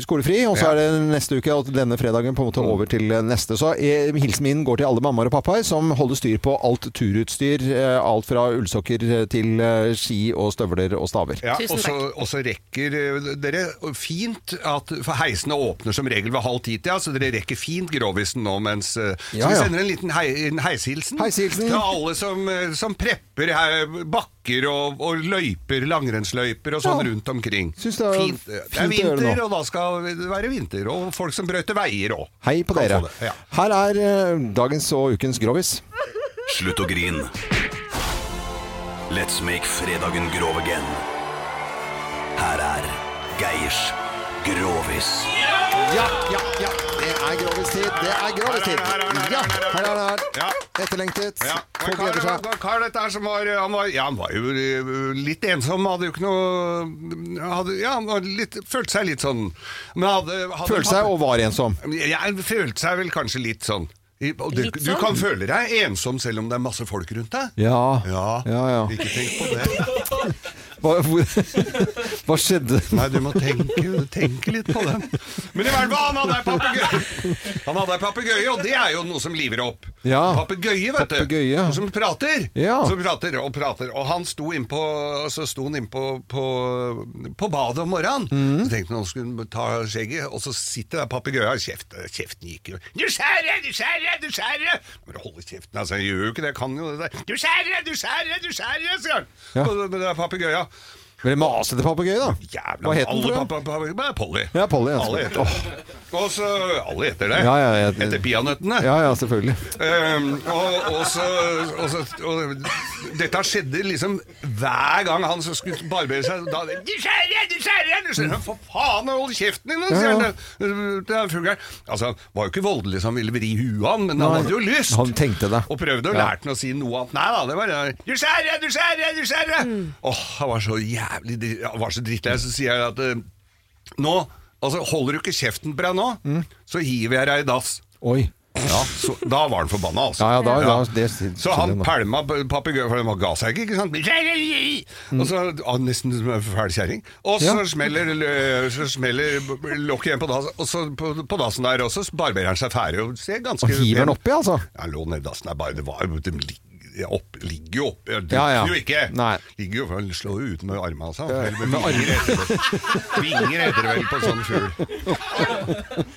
skolefri. Og så er
Ja. Mm.
det neste uke, og denne fredagen på en måte over til eh, neste. Så eh, hilsen min går til alle mammaer og pappaer som holder styr på alt turutstyr. eh, alt fra ullsokker til eh, ski og støvler og staver.
Ja,
Tusen
og så, og så rekker eh, dere fint at For heisene åpner som regel ved halv ti, ja, så dere rekker fint grovisen nå mens eh, Så
Ja,
vi
ja.
sender en liten hei, en heishilsen
Heishilsen.
til alle som, eh, som prepper eh, bakker og, og løyper, langrennsløyper og sånn
Ja.
rundt omkring.
Synes det er
fint, eh, det
fint å
er
gjøre
vinter,
nå.
og da skal det være vinter. Og folk som brøyter veier òg.
Hei på dere.
Ja.
Her er eh, dagens og ukens grovis.
Slutt å grin. Let's make fredagen grov again. Her er Geirs Grovis.
Ja, ja, ja. Det er grovistid. Det er grovistid.
Her er det, her er det, her er det,
Ja,
her er det.
her er det.
Ja.
her. Etterlengtet.
Ja, det
Folk
var en
gleder
kar,
seg.
det var en kar dette her som var, han var, ja, han var jo eh, litt ensom, hadde jo ikke noe hadde, Ja, han var litt, følte seg litt sånn men hadde, hadde
Følte seg og var ensom.
Jeg følte seg vel kanskje litt sånn. I- og Du,
Litt
du
sånn?
kan føle deg ensom selv om det er masse folk rundt deg.
Ja.
Ja,
ja, ja.
ikke tenk på det.
Hva, hvor, hva skjedde?
Nei, du må tenke, tenke litt på den. Men i hvert fall, han hadde ei papegøye! Han hadde ei papegøye, og det er jo noe som liver opp.
Ja.
Papegøye, vet du.
Papegøye.
Og Som prater.
Ja.
Som prater og prater. Og han sto innpå Så sto han innpå på, på badet om morgenen.
Mhm.
Så tenkte han han skulle ta skjegget, og så sitter der papegøya og kjeft, kjeften gikk jo Du skjærer, du skjærer, du skjærer! Bare holde kjeften, altså. Jeg gjør jo ikke det, jeg kan jo det der. Du skjærer, du skjærer, du skjærer, sier han.
Ja.
Og det- det er papegøya.
Veldig masete papegøye, da.
Jævla
Hva het den,
alle
tror du?
pappa- pappa- pappa- Polly.
Ja, Polly, altså. ja,
Alle heter
selvfølgelig.
det. Og så Alle heter det.
Ja, ja, ja.
Etter peanøttene.
Ja, ja, selvfølgelig.
Ehm, og, og så, og så og, Dette skjedde liksom hver gang han så skulle barbere seg. Da, 'Du skjærer, du skjærer!' Du skjærer. For faen, hold kjeften din!
Ja, ja.
sier han til- til fuglen. Altså, han var jo ikke voldelig så han ville vri huet av han, men han
Nei,
hadde jo lyst.
han tenkte det.
Og prøvde å
Ja.
lære den å si noe annet. Nei da, det var det. 'Du skjærer, du skjærer, du skjærer!' Åh, han var så jævlig dri- Han var så drittlei, så sier jeg at eh, Nå, altså, holder du ikke kjeften på deg nå,
Mm.
så hiver jeg deg i dass.
Oi.
Ja, så, da var han forbanna, altså.
Ja, ja, da, da det,
Så han pælma papegøyen, for den var- ga seg ikke, ikke sant? Og så, ah, Nesten som en fæl kjerring. Og så
Ja.
smeller, lø- så smeller lokket igjen på dassen, og så på, på dassen der, og så barberer han seg ferdig og ser ganske
Og hiver den oppi, altså?
Han lå nedi dassen der, bare det var jo- de ligger opp, ligger jo oppi, det
Ja, ja.
jo ikke.
Nei.
Ligger jo, for han slår jo ut med armene, altså.
Ja,
Eller
med
vinger heter det. Vinger heter det vel på sånn fugl.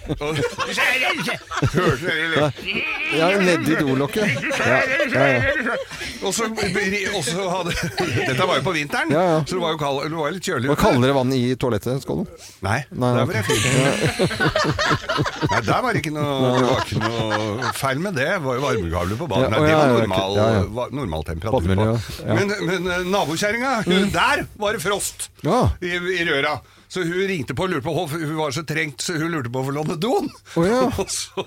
Og- Hørte dere det?
Ja, nedi dolokket. Ja, ja, ja.
Og så, og så hadde Dette var jo på vinteren,
Ja, ja.
så det var jo kald, det var litt kjølig.
Hva kaller dere vann i toalettet, Skålen?
Nei,
Nei,
der
ok.
var jeg fin. Nei, der var det ikke noe, det var ikke noe feil med det. Det var jo varmekabler på badet.
Ja,
Nei,
å,
det
ja,
var
ja,
normal,
ja, ja.
var normal temperatur på.
Bademiljø, ja. Mm.
Men, men eh, nabokjerringa, hun- der var det frost
Ja.
i, i røra. Så hun ringte på og lurte på hvor- Hun var så trengt, så hun lurte på å få låne doen.
Å, ja.
Og så,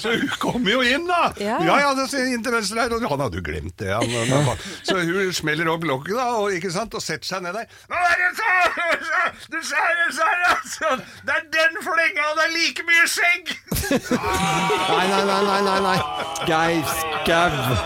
så hun kom jo inn, da! Ja,
Ja.
ja, det sier inn til venstre her. Og han hadde jo glemt det. Han, han, bare- så hun smeller opp lokket da, og, ikke sant, og setter seg ned der. Hva er det så? Du skjærer, skjærer! sånn. Det er den flenga, og det er like mye skjegg!
Nei, nei, nei, nei, nei, nei. Geir Skau.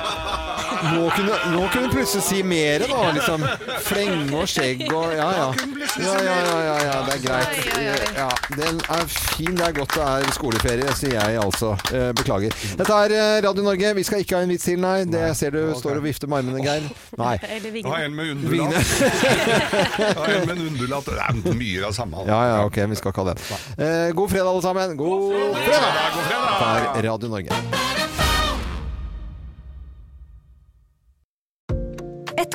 Nå kunne, nå kunne du plutselig si mere, da. Liksom flenge og skjegg og Ja, ja. Ja, ja, ja, ja, ja det er greit. Ja, den er fin. Det er godt det er skoleferie, sier jeg altså. Eh, Beklager. Dette er eh, Radio Norge. Vi skal ikke ha en vits til, nei. Det jeg ser du står og vifter med armene, Geir. Nei.
Eh, Eller
Jeg
vingene.
har en med undulat. Jeg har en med en undulat. Det er mye av samme. altså.
Ja, ja, ok, vi skal ikke ha den. Eh, god fredag, alle sammen. God fredag!
God fredag!
Dette er Radio Norge.
Et